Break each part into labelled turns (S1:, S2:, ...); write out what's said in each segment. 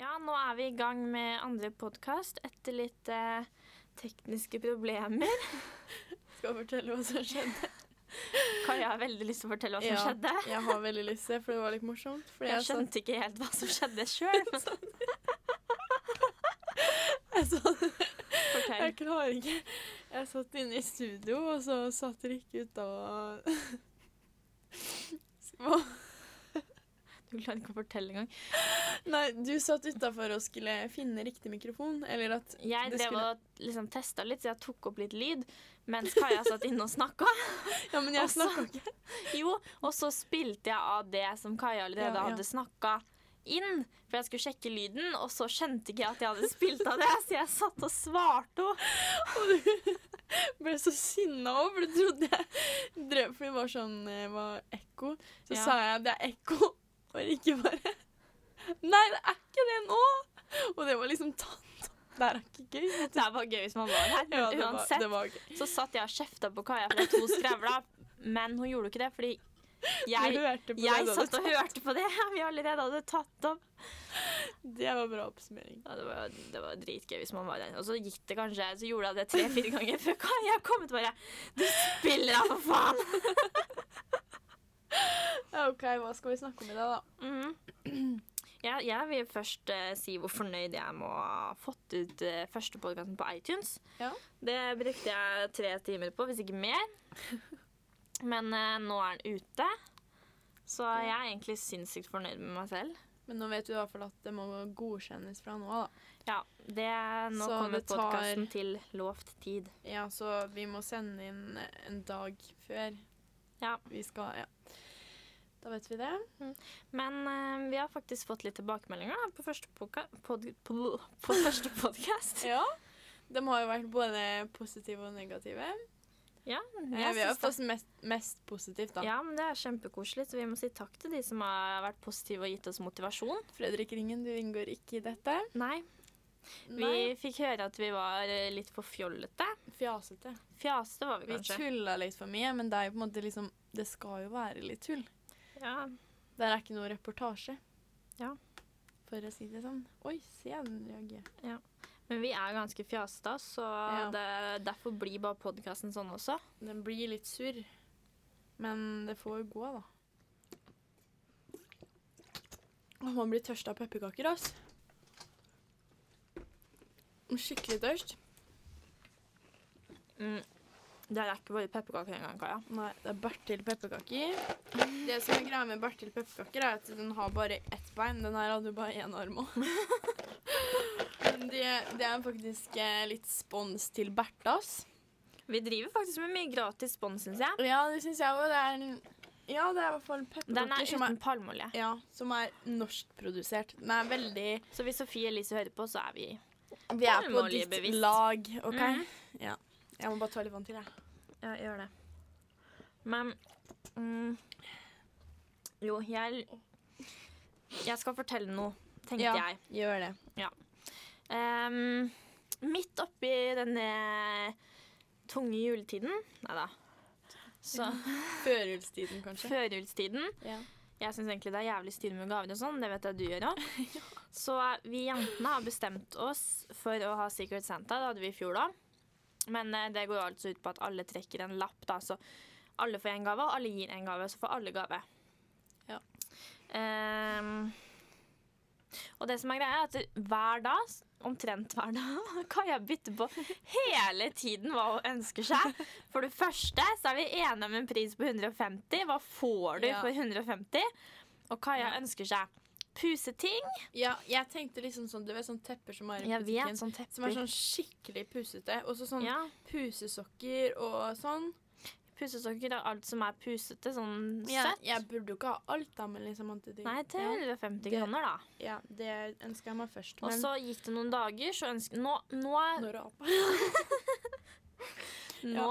S1: Ja, nå er vi i gang med andre podkast etter litt eh, tekniske problemer.
S2: Skal fortelle hva som skjedde.
S1: Kaja har veldig lyst til å fortelle hva som
S2: Ja,
S1: skjedde.
S2: Jeg har veldig lyst til det, for det var litt morsomt. Fordi
S1: Jeg
S2: jeg,
S1: skjønte ikke helt hva som skjønte sjøl.
S2: satt, jeg, satt, jeg klarer ikke. Jeg satt inne i studio, og så satt Rikke ut av Hva?
S1: Du klarer ikke å fortelle engang.
S2: Nei, du satt utafor og skulle finne riktig mikrofon, eller at
S1: Jeg
S2: Det
S1: drev
S2: skulle-
S1: og liksom testa litt, så jeg tok opp litt lyd mens Kaja satt inne og snakka.
S2: Ja, men jeg
S1: Også-
S2: snakka ikke.
S1: Jo, og så spilte jeg av det som Kaja allerede
S2: Ja, ja.
S1: hadde snakka inn. For jeg skulle sjekke lyden, og så skjønte ikke jeg at jeg hadde spilt av det. Så jeg satt og svarte henne.
S2: Ble så sinna òg, for du trodde jeg drev For det var sånn eh, var ekko. Så
S1: Ja.
S2: sa jeg det er ekko, og Rikke bare Nei, det er ikke det nå! Og det var liksom tatt. Det her er ikke gøy.
S1: Det var gøy hvis man var her. Men
S2: Ja, det var,
S1: uansett
S2: det var gøy.
S1: så satt jeg og kjefta på Kaja for at hun skrevla, men hun gjorde jo ikke det fordi
S2: du
S1: jeg,
S2: hørte på
S1: jeg
S2: det, da,
S1: satt
S2: du-
S1: og hørte på det vi allerede hadde tatt opp.
S2: det var bra oppsummering.
S1: Ja, det, var, det var dritgøy hvis man var der. Og så gikk det kanskje, så gjorde jeg det tre-fire ganger før Kaja kom ut bare Du spiller da, for faen!
S2: Ja, OK, hva skal vi snakke om i dag, da?
S1: Mhm. Ja, jeg vil først eh, si hvor fornøyd jeg må ha fått ut eh, første podkasten på iTunes.
S2: Ja.
S1: Det brukte jeg tre timer på, hvis ikke mer. Men eh, nå er den ute, så jeg er egentlig sinnssykt fornøyd med meg selv.
S2: Men nå vet du i hvert fall at det må godkjennes fra nå av, da.
S1: Ja, det, nå
S2: Så
S1: kommer
S2: det tar-
S1: podkasten til lovt tid.
S2: Ja, så vi må sende inn en dag før
S1: Ja.
S2: vi skal Ja. Da vet vi det.
S1: Men eh, vi har faktisk fått litt tilbakemeldinger da, på første, podka pod på, på første podcast.
S2: Ja. De har jo vært både positive og negative.
S1: Ja,
S2: Eh,
S1: jeg
S2: vi har
S1: synes det.
S2: fått mest, mest positivt, da.
S1: Ja, men det er kjempekoselig, så vi må si takk til de som har vært positive og gitt oss motivasjon.
S2: Fredrik Ringen, du inngår ikke i dette.
S1: Nei, vi
S2: Nei,
S1: fikk høre at vi var eh, litt for fjollete.
S2: fjasete.
S1: Fjaste var vi
S2: Vi
S1: kanskje.
S2: tulla litt for mye, men det er jo på en måte liksom Det skal jo være litt tull.
S1: Ja,
S2: Det er ikke noe reportasje.
S1: Ja.
S2: For å si det sånn. Oi, se den reagerer.
S1: men vi er ganske fjasta, så
S2: Ja.
S1: det, derfor blir bare podkasten sånn også.
S2: Den blir litt surr. Men det får gå, da. Åh, man blir tørst av pepperkaker, altså. Skikkelig tørst.
S1: Mm. Det er ikke bare pepperkaker engang, Kaja.
S2: Nei, det er Bertil pepperkaker. Det som er greia med Bertil pepperkaker, er at den har bare ett bein. Den her hadde jo bare én arm òg. Det, det er faktisk eh, litt spons til Bertas.
S1: Vi driver faktisk med mye gratis spons, syns jeg.
S2: Ja, det syns jeg òg. Det er Ja, det er i hvert fall
S1: Den er
S2: pepperkaker som er
S1: uten palmeolje.
S2: ja, som er norskprodusert. Den er veldig
S1: Så hvis Sofie Elise hører på, så er vi
S2: Vi er på ditt
S1: Palmeoljebevisst.
S2: lag, OK?
S1: Mhm.
S2: Ja. Jeg må bare ta litt vann til, jeg.
S1: Ja, gjør det. Men mm, Jo, jeg Jeg skal fortelle noe, tenkte
S2: Ja.
S1: jeg.
S2: Gjør det.
S1: Ehm, midt oppi denne tunge juletiden Nei da. Så
S2: Førjulstiden, kanskje.
S1: førjulstiden
S2: Ja.
S1: Jeg syns egentlig det er jævlig styr med gaver og sånn, det vet jeg du gjør òg. Så vi jentene har bestemt oss for å ha Secret Santa, det hadde vi i fjor da. Men eh, det går jo altså ut på at alle trekker en lapp, da. Så alle får en gave, og alle gir en gave, så får alle gave.
S2: Ja.
S1: Ehm, og det som er greia, er at hver dag, omtrent hver dag, kan jeg bytte på hele tiden hva hun ønsker seg. For det første så er vi enige om en pris på 150. Hva får du
S2: Ja.
S1: for 150? Og Kaja
S2: Ja.
S1: ønsker seg puseting.
S2: ja, jeg tenkte liksom sånn Du vet sånn tepper som er i
S1: Jeg vet, sånn
S2: butikken? Som er
S1: tepper.
S2: sånn skikkelig pusete. Og så sånn
S1: Ja,
S2: pusesokker og sånn.
S1: Pusesokker og alt som er pusete. Sånn
S2: Jeg,
S1: søtt.
S2: jeg burde jo ikke ha alt, da, men liksom at det,
S1: Nei, til
S2: ja,
S1: 150
S2: Det-
S1: kroner, da.
S2: ja, det ønsker jeg meg først.
S1: Og
S2: Men
S1: så gikk det noen dager, så ønsker Nå, nå,
S2: når og apa.
S1: nå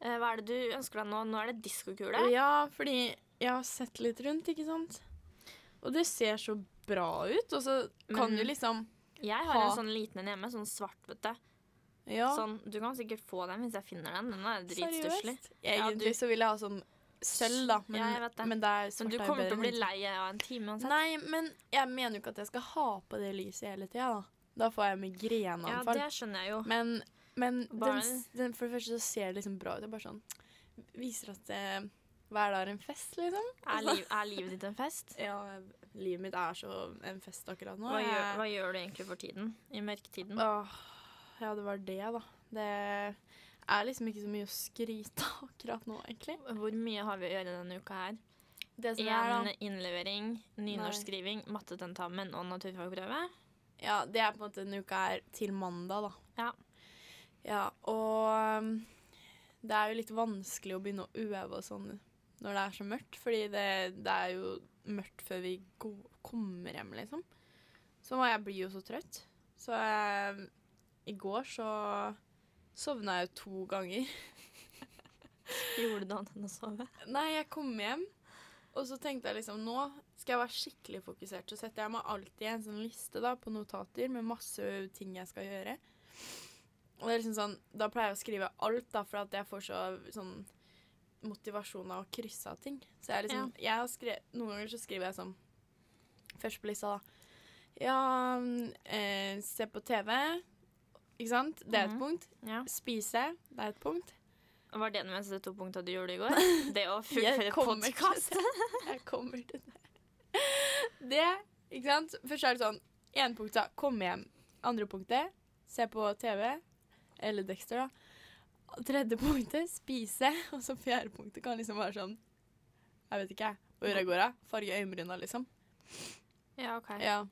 S1: eh, Hva er det du ønsker deg nå? Nå er det diskokule.
S2: Ja, fordi jeg har sett litt rundt, ikke sant? Og det ser så bra ut, og så kan
S1: Men-
S2: du liksom
S1: Jeg har
S2: Ha.
S1: en sånn liten en hjemme, sånn svart, vet du.
S2: Ja, sånn,
S1: Sånn, du kan sikkert få den hvis jeg finner den. Den er dritstusslig.
S2: Egentlig
S1: Ja, du-
S2: så vil jeg ha sånn sølv, da. Men,
S1: Ja, jeg vet det.
S2: men det er
S1: Men Sånn, du
S2: svart er
S1: kommer til å
S2: bedre
S1: bli
S2: enn-
S1: lei av en time uansett.
S2: Nei, men jeg mener jo ikke at jeg skal ha på det lyset hele tida, da. Da får jeg
S1: Ja,
S2: migreneanfall.
S1: det skjønner jeg jo.
S2: Men, men den,
S1: Bare-
S2: s- den, for det første så ser det liksom bra ut. Det er bare sånn Viser at det, hver dag er en fest, liksom.
S1: Er, liv, er livet ditt en fest?
S2: Ja, livet mitt er så en fest akkurat nå.
S1: Hva gjør,
S2: Jeg-
S1: hva gjør du egentlig for tiden? I mørketiden?
S2: Åh, ja, det var det, da. Det er liksom ikke så mye å skryte av akkurat nå, egentlig.
S1: Hvor mye har vi å gjøre denne uka her?
S2: Det som er,
S1: Én
S2: da,
S1: innlevering, nynorskskriving, mattetentamen og naturfagprøve.
S2: ja, det er på en måte denne uka er til mandag, da.
S1: Ja.
S2: Ja, og um, det er jo litt vanskelig å begynne å øve og sånn når det er så mørkt, fordi det, det er jo mørkt før vi go kommer hjem, liksom. Så må jeg blir jo så trøtt. Så jeg, i går så sovna jeg jo to ganger.
S1: Gjorde du annet enn å sove?
S2: Nei, jeg kom hjem, og så tenkte jeg liksom Nå skal jeg være skikkelig fokusert. Så setter jeg meg alltid i en sånn liste da, på notater med masse ting jeg skal gjøre. Og det er liksom sånn, Da pleier jeg å skrive alt, da, for at jeg får så sånn motivasjon av å krysse av ting. Så jeg liksom, jeg har skrevet, Noen ganger så skriver jeg sånn Først på lista, da. Ja, mm, eh, se på TV. Ikke sant? Det er et
S1: Mhm.
S2: punkt.
S1: Ja.
S2: Spise. Det er et punkt.
S1: Var det den eneste to punktene du gjorde i går? Det å
S2: Jeg
S1: fullføre
S2: kommer til
S1: podkast?
S2: Jeg kommer til det. Det, ikke sant? Først er det sånn, en punkt da, kom hjem. Andre punktet, se på TV, eller Dexter da. Tredje punktet, spise. Og så fjerde punktet kan liksom være sånn, jeg vet ikke, jeg, hvor jeg går av. Farge øyenbryna liksom.
S1: Ja, OK.
S2: Ja.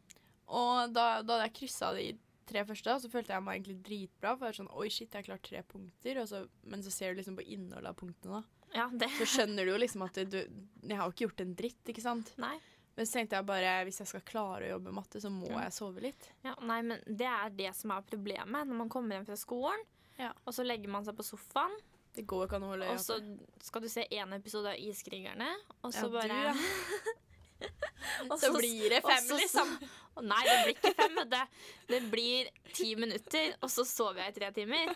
S2: Og da, da hadde jeg kryssa de tre første, så følte jeg meg egentlig dritbra. For jeg var sånn, oi shit, jeg har klart tre punkter. Og så, men så ser du liksom på innholdet av punktene da.
S1: Ja, det
S2: Så skjønner du jo liksom at du, jeg har jo ikke gjort en dritt, ikke sant?
S1: Nei.
S2: Men så tenkte jeg bare hvis jeg skal klare å jobbe matte, så må
S1: Mm.
S2: jeg sove litt.
S1: Ja, nei, men det er det som er problemet når man kommer hjem fra skolen.
S2: Ja.
S1: Og så legger man seg på sofaen,
S2: Det går ikke an å holde
S1: og så skal du se én episode av Iskrigerne, og så
S2: Ja, du,
S1: bare
S2: ja.
S1: Og
S2: Så blir det fem,
S1: og så-
S2: liksom.
S1: Å Nei, det blir ikke fem. Det, det blir ti minutter, og så sover jeg i tre timer.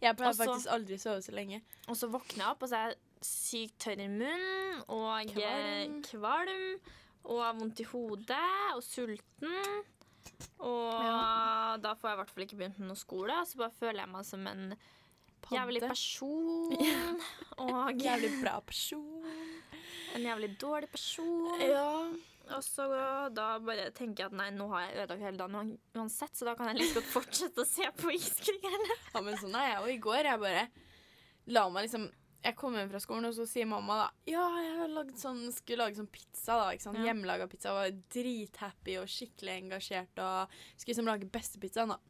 S2: Jeg pleier
S1: og så-
S2: faktisk aldri å sove så lenge.
S1: Og så våkner jeg opp, og så er jeg sykt tørr i munnen og kvalm.
S2: Kvalm.
S1: kvalm og har vondt i hodet og sulten. Og da får jeg i hvert fall ikke begynt med noe skole, og så bare føler jeg meg som en jævlig
S2: Padde.
S1: person. Og
S2: Jævlig bra person.
S1: en jævlig dårlig person.
S2: Ja.
S1: Og så da bare tenker jeg at nei, nå har jeg ødelagt hele dagen uansett, så da kan jeg like godt fortsette å se på Iskrigerne.
S2: ja, men sånn er jeg jo. I går jeg bare la meg liksom Jeg kom hjem fra skolen, og så sier mamma da Ja, jeg har lagd sånn, skulle lage sånn pizza, da. ikke sant?
S1: Ja.
S2: Hjemmelaga pizza. Var drithappy og skikkelig engasjert og skulle liksom lage beste pizzaen, da.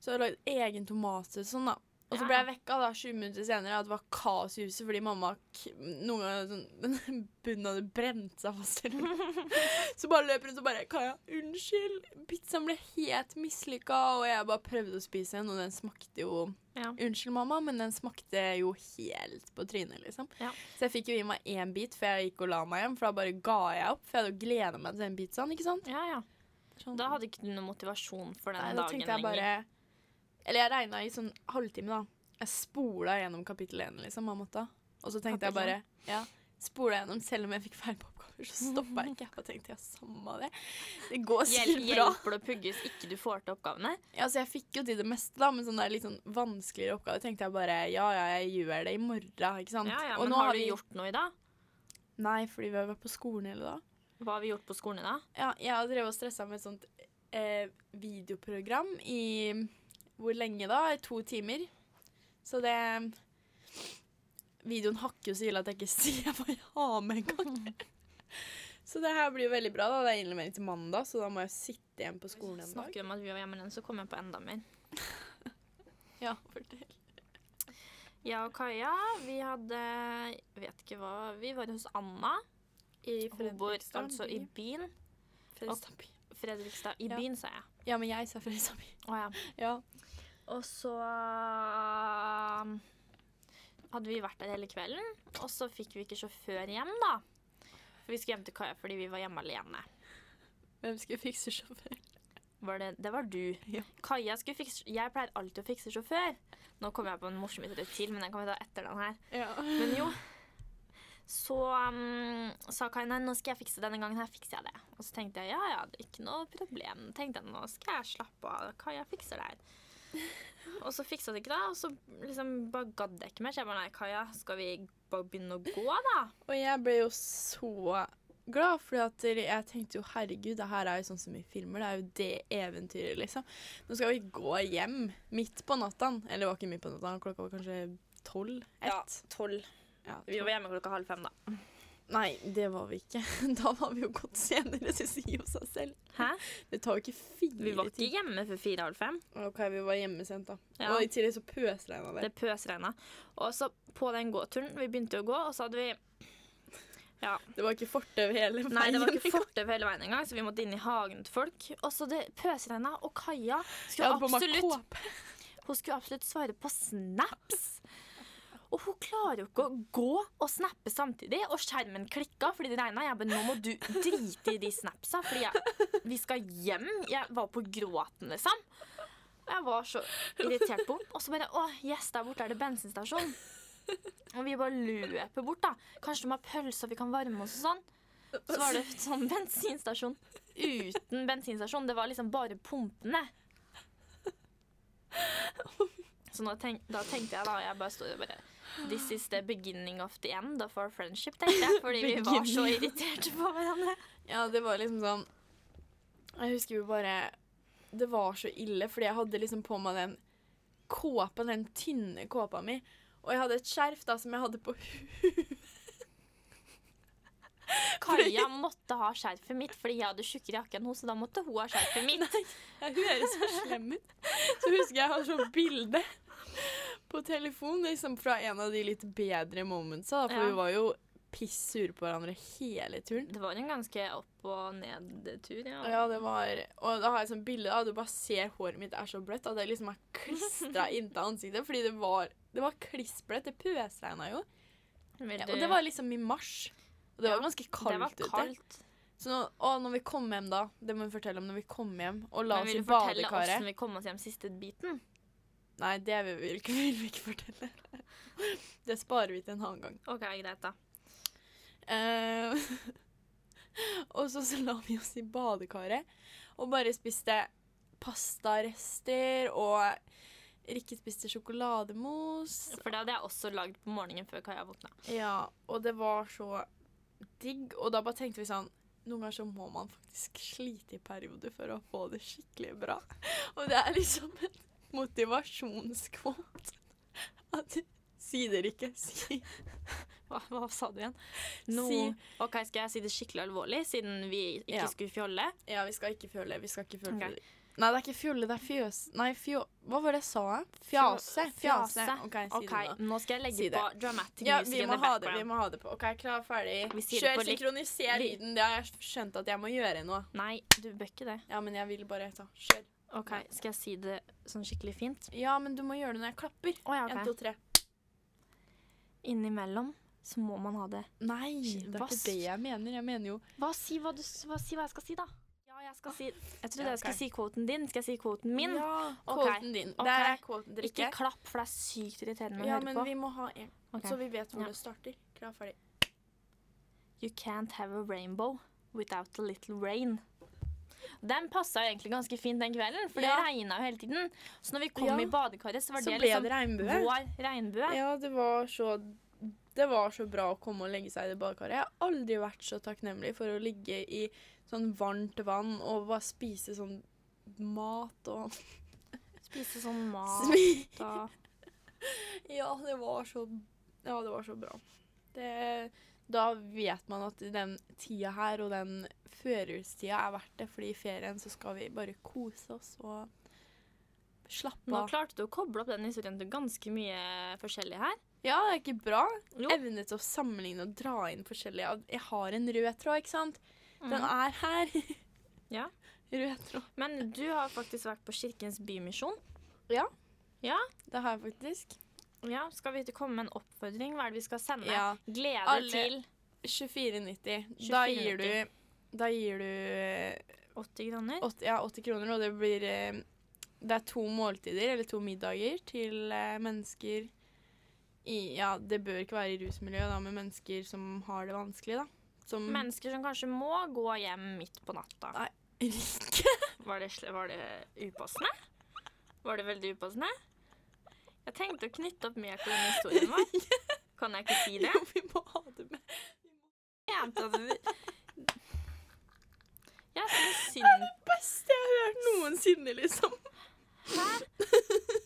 S2: Så jeg lagde egen tomatsaus sånn, da. Og så ble
S1: Ja.
S2: jeg vekka da, 20 minutter senere av at det var kaos i huset fordi mamma k noen ganger sånn, bunnen hadde brent seg fast. eller noe. så bare løp rundt og bare 'Kaja, unnskyld.' Pizzaen ble helt mislykka, og jeg bare prøvde å spise en, og den smakte jo
S1: Ja.
S2: Unnskyld, mamma, men den smakte jo helt på trynet, liksom.
S1: Ja.
S2: Så jeg fikk jo i meg én bit før jeg gikk og la meg hjem, for da bare ga jeg opp. For jeg hadde jo gleda meg til den pizzaen, ikke sant?
S1: Ja, ja.
S2: Sånn.
S1: Da hadde ikke du noe motivasjon for den
S2: Nei, da
S1: dagen
S2: tenkte jeg bare Eller jeg regna i sånn halvtime, da. Jeg spola gjennom kapittel én, liksom, av matta. Og så tenkte jeg
S1: Kapittel
S2: bare Ja. Spola gjennom, selv om jeg fikk feil på oppgaver, så stoppa jeg ikke. Jeg bare tenkte ja, samme det. Det går
S1: Hjel
S2: sikkert bra.
S1: hjelper det å pugge hvis ikke du får til oppgavene?
S2: Ja, så Altså, jeg fikk jo til det meste, da, men sånn der litt sånn vanskeligere oppgave tenkte jeg bare ja, ja, jeg gjør det i morgen, ikke sant.
S1: Ja, ja,
S2: Og
S1: men
S2: nå
S1: har,
S2: vi-
S1: du gjort noe i dag?
S2: Nei, fordi vi har vært på skolen hele dag.
S1: Hva har vi gjort på skolen i dag?
S2: Ja, jeg har drevet og stressa med et sånt eh, videoprogram i hvor lenge da? I to timer. Så det Videoen hakker jo så ille at jeg ikke sier hva jeg har med engang. så det her blir jo veldig bra. da. Det er innlevering til mandag, så da må jeg sitte igjen på skolen en dag.
S1: Snakker om at vi var hjemme den, så kom jeg på enda mer.
S2: Ja, fortell.
S1: Jeg og Kaja, vi hadde Vet ikke hva Vi var hos Anna i Hobor,
S2: Fredrikstad
S1: altså i byen.
S2: Fredrikstad by.
S1: Fredrikstad. I
S2: Ja.
S1: byen, sa jeg.
S2: Ja, men jeg sa Fredrikstad by.
S1: Å ja.
S2: Ja.
S1: Og så um, hadde vi vært der hele kvelden, og så fikk vi ikke sjåfør hjem, da. For vi skulle hjem til Kaja fordi vi var hjemme alene.
S2: Hvem skulle fikse sjåfør?
S1: Var det, det var du.
S2: Ja.
S1: Kaja skulle fikse Jeg pleier alltid å fikse sjåfør. Nå kommer jeg på en morsom idé til, men den kan vi ta etter den her.
S2: Ja.
S1: Men jo. Så um, sa Kai nei, nå skal jeg fikse denne gangen her fikser jeg det. Og så tenkte jeg ja, ja, det er ikke noe problem. Tenkte jeg, nå skal jeg slappe av. Kai, jeg fikser det her. Og så fiksa det ikke det, og så liksom bare gadd jeg ikke mer. Så jeg bare nei, Kaja, skal vi bare begynne å gå, da?
S2: Og jeg ble jo så glad, for jeg tenkte jo herregud, det her er jo sånn som i filmer. Det er jo det eventyret, liksom. Nå skal vi gå hjem midt på natta. Eller det var ikke midt på natta, klokka var kanskje tolv? Ett?
S1: tolv.
S2: Ja,
S1: Vi var hjemme klokka halv fem, da.
S2: Nei, det var vi ikke. Da var vi jo gått senere, det sier jo seg selv.
S1: Hæ?
S2: Det tar jo ikke fire
S1: Vi var ikke hjemme før fire-halv fem.
S2: timer. OK, vi var hjemme sent, da.
S1: Ja.
S2: Og i tillegg så pøsregna det.
S1: Det pøsregna. Og så på den gåturen, vi begynte å gå, og så hadde vi Ja.
S2: Det var ikke fortau hele veien.
S1: Nei, det var ikke fortau hele veien engang, så vi måtte inn i hagen til folk. Og så det pøsregna, og Kaja
S2: Jeg
S1: skulle
S2: hadde på meg
S1: absolutt
S2: kåpe.
S1: Hun skulle absolutt svare på snaps. Og hun klarer jo ikke å gå og snappe samtidig. Og skjermen klikka fordi det regna. Jeg bare Nå må du drite i de snapsa, fordi jeg, vi skal hjem. Jeg var på gråten, liksom. Og jeg var så irritert på henne. Og så bare Å, yes, der borte er det bensinstasjon. Og vi bare løper bort, da. Kanskje de har pølser vi kan varme oss og sånn. Så var det sånn bensinstasjon uten bensinstasjon. Det var liksom bare pumpene. Så nå tenk, da tenkte jeg da, jeg bare stod og bare This is the beginning of the end of our friendship, tenkte jeg. Fordi vi var så
S2: Beginning.
S1: irriterte på hverandre.
S2: Ja, det var liksom sånn Jeg husker jo bare Det var så ille, fordi jeg hadde liksom på meg den kåpen, den tynne kåpa mi. Og jeg hadde et skjerf da som jeg hadde på huet.
S1: Kaja måtte ha skjerfet mitt fordi jeg hadde tjukkere jakke enn hun, så da måtte hun ha skjerfet mitt.
S2: Jeg høres så slem ut. Så husker jeg jeg har sånn bilde på telefon liksom fra en av de litt bedre momentsa. da, For
S1: Ja.
S2: vi var jo piss sure på hverandre hele turen.
S1: Det var en ganske opp- og ned-tur, ja.
S2: Ja, det var Og da har jeg sånn bilde av Du bare ser håret mitt er så bløtt at det liksom er klistra inntil ansiktet. Fordi det var, det var klissbløtt. Det pøsregna jo.
S1: Vil
S2: Ja,
S1: du-
S2: og det var liksom i mars. Og det
S1: Ja,
S2: var ganske
S1: det var
S2: kaldt, ute.
S1: kaldt.
S2: Så nå, og når vi kom hjem, da Det må vi fortelle om når vi kom hjem og la
S1: Men
S2: oss
S1: vil
S2: i
S1: du fortelle
S2: badekaret.
S1: åssen vi kom oss hjem siste biten?
S2: Nei, det vil vi ikke, vil vi ikke fortelle. Det sparer vi til en annen gang.
S1: OK, greit, da.
S2: Eh, og så, så la vi oss i badekaret og bare spiste pastarester, og Rikke spiste sjokolademos.
S1: For det hadde jeg også lagd på morgenen før Kaja våkna.
S2: Ja, og det var så digg. Og da bare tenkte vi sånn Noen ganger så må man faktisk slite i perioder for å få det skikkelig bra. Og det er liksom en motivasjonskvote. At Si dere ikke. Si.
S1: Hva, hva sa du igjen?
S2: Si-
S1: OK, skal jeg si det skikkelig alvorlig, siden vi ikke
S2: Ja.
S1: skulle fjolle?
S2: Ja, vi skal ikke føle Vi skal ikke føle
S1: Ok.
S2: Nei, det er ikke fjolle, det er fjøs... Nei, fjå... Hva var det jeg sa? Fjase.
S1: Fjase.
S2: Fjase. OK, si
S1: OK,
S2: det nå.
S1: nå skal jeg legge
S2: Si det.
S1: på dramatic
S2: Ja,
S1: music
S2: vi
S1: in
S2: må
S1: the
S2: ha det, vi
S1: background.
S2: må ha det på. OK, klar, ferdig.
S1: Vi sier det
S2: Kjør,
S1: på litt-
S2: synkroniser
S1: litt-
S2: lyden. Det har jeg skjønt at jeg må gjøre nå.
S1: Nei, du bør ikke det.
S2: Ja, men jeg vil bare ta. Kjør.
S1: OK, skal jeg si det sånn skikkelig fint?
S2: Ja, men du må gjøre det når jeg klapper.
S1: Å ja,
S2: En,
S1: OK.
S2: to, tre.
S1: Innimellom så må man ha det.
S2: Nei, det er
S1: Hva
S2: ikke
S1: s-
S2: det jeg mener. Jeg mener jo
S1: Hva si hva, du, hva, si hva jeg skal si, da? Ah. Ja, jeg skal si Jeg trodde
S2: Ja,
S1: jeg skulle
S2: ok.
S1: si kvoten din. Skal jeg si kvoten min?
S2: Ja,
S1: Ok.
S2: kvoten din.
S1: Ok.
S2: Det er kvoten dere
S1: Ikke
S2: ikke.
S1: klapp, for det er sykt irriterende å
S2: Ja,
S1: høre
S2: men
S1: på.
S2: vi må ha en,
S1: Ok.
S2: så vi vet hvor
S1: Ja.
S2: det starter. Klar, ferdig.
S1: You can't have a rainbow without a little rain. Den passa jo egentlig ganske fint den kvelden, for
S2: Ja.
S1: det regna jo hele tiden. Så når vi kom
S2: Ja.
S1: i badekaret, så var
S2: Så
S1: det
S2: ble
S1: liksom
S2: det regnbue.
S1: vår regnbue.
S2: Ja, det var så Det var så bra å komme og legge seg i det badekaret. Jeg har aldri vært så takknemlig for å ligge i sånn varmt vann og bare spise sånn mat og
S1: Spise sånn mat
S2: Smi-
S1: og
S2: Ja, det var så Ja, det var så bra. Det, da vet man at den tida her og den førjulstida er verdt det, fordi i ferien så skal vi bare kose oss og slappe
S1: Nå
S2: av.
S1: klarte du å koble opp den historien til ganske mye forskjellig her.
S2: Ja, det er ikke bra.
S1: Jo.
S2: Evne til å sammenligne og dra inn forskjellige Jeg har en rød tråd, ikke sant? Den
S1: Mhm.
S2: er her.
S1: Ja.
S2: Rød tråd.
S1: Men du har faktisk vært på Kirkens Bymisjon.
S2: Det har jeg faktisk.
S1: Ja, Skal vi ikke komme med en oppfordring? Hva er det vi skal sende?
S2: Ja.
S1: Glede
S2: Alle-
S1: til
S2: 24,90. Da gir du Da gir du
S1: 80 kroner.
S2: 80, ja, 80 kroner, og det blir eh, Det er to måltider, eller to middager, til eh, mennesker i Ja, det bør ikke være i rusmiljøet, da, med mennesker som har det vanskelig, da. Som
S1: Mennesker som kanskje må gå hjem midt på natta.
S2: Nei. Ikke.
S1: Var det, sl- var det upassende? Var det veldig upassende? Jeg tenkte å knytte opp mer til den historien vår. Kan jeg ikke si det?
S2: Jo, vi må ha det med.
S1: Jeg mente at du... Jeg synes synd...
S2: Beste jeg har hørt noensinne, liksom.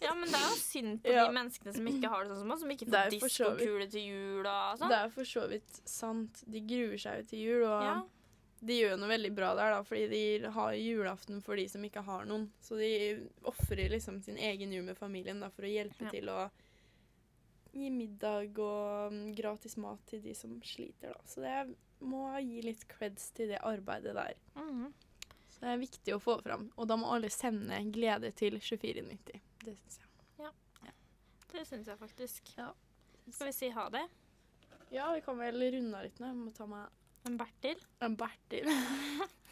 S1: Ja, men det er jo synd på
S2: Ja.
S1: de menneskene som ikke har det sånn som oss, som ikke
S2: Det er
S1: får
S2: jo for så vidt-
S1: diskokule til jul og
S2: Det
S1: sånn.
S2: er jo for så vidt sant. De gruer seg jo til jul, og
S1: Ja.
S2: de gjør noe veldig bra der, da, fordi de har julaften for de som ikke har noen. Så de ofrer liksom sin egen jul med familien da, for å hjelpe
S1: Ja.
S2: til å gi middag og mm, gratis mat til de som sliter, da. Så det er- må gi litt creds til det arbeidet der.
S1: Mhm.
S2: Så det er viktig å få fram. Og da må alle sende glede til 2490. Det syns jeg.
S1: Det synes jeg faktisk.
S2: Ja.
S1: Skal vi si ha det?
S2: Ja, vi kan vel runde av litt nå. Jeg må ta meg
S1: En Bertil?
S2: En bertil.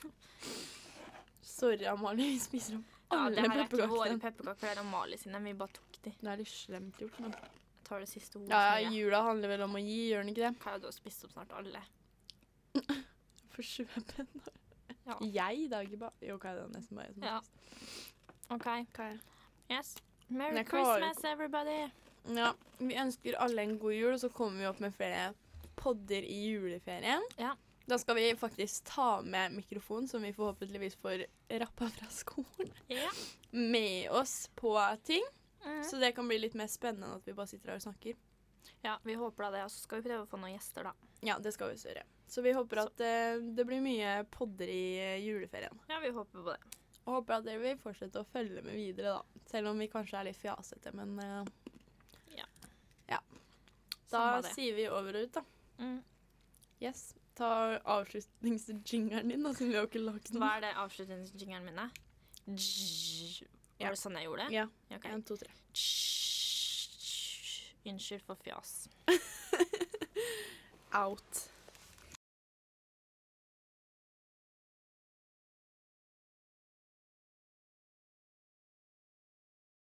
S2: Sorry, Amalie. Vi spiser opp
S1: Ja, det
S2: alle
S1: her er ikke våre
S2: pepperkakene.
S1: pepperkaker, det er Amalie sine. Vi bare tok de.
S2: Det er litt slemt gjort. Men.
S1: Jeg tar det siste ordet.
S2: Ja,
S1: som
S2: ja,
S1: jeg-
S2: jula handler vel om å gi, gjør den ikke det?
S1: Kaja, du har spist opp snart alle.
S2: For 20 penner.
S1: Ja.
S2: Jeg, da, ikke bare Jo, hva er det nesten bare jeg som har
S1: Ja.
S2: spist.
S1: OK. Yes. Merry
S2: Jeg klarer
S1: Christmas, everybody.
S2: Ja. Vi ønsker alle en god jul, og så kommer vi opp med flere podder i juleferien.
S1: Ja.
S2: Da skal vi faktisk ta med mikrofon, som vi forhåpentligvis får rappa fra skolen,
S1: Ja.
S2: med oss på ting.
S1: Mhm.
S2: Så det kan bli litt mer spennende enn at vi bare sitter her og snakker.
S1: ja, vi håper da det. Og så skal vi prøve å få noen gjester, da.
S2: Ja, det skal vi også gjøre. Så vi håper at eh, det blir mye podder i eh, juleferien.
S1: Ja, vi håper på det.
S2: Og håper at dere vil fortsette å følge med videre, da. Selv om vi kanskje er litt fjasete, men eh,
S1: Ja.
S2: ja. Da
S1: Samme det.
S2: sier vi over og ut, da.
S1: Mm.
S2: Yes. Ta avslutningsjingeren din, da, siden vi har ikke lagd den.
S1: Hva er det avslutningsjingeren min er? Dzz. Var
S2: Ja.
S1: det sånn jeg gjorde?
S2: Ja.
S1: Ok.
S2: En, to, tre.
S1: Dzz. Unnskyld for fjas.
S2: Out.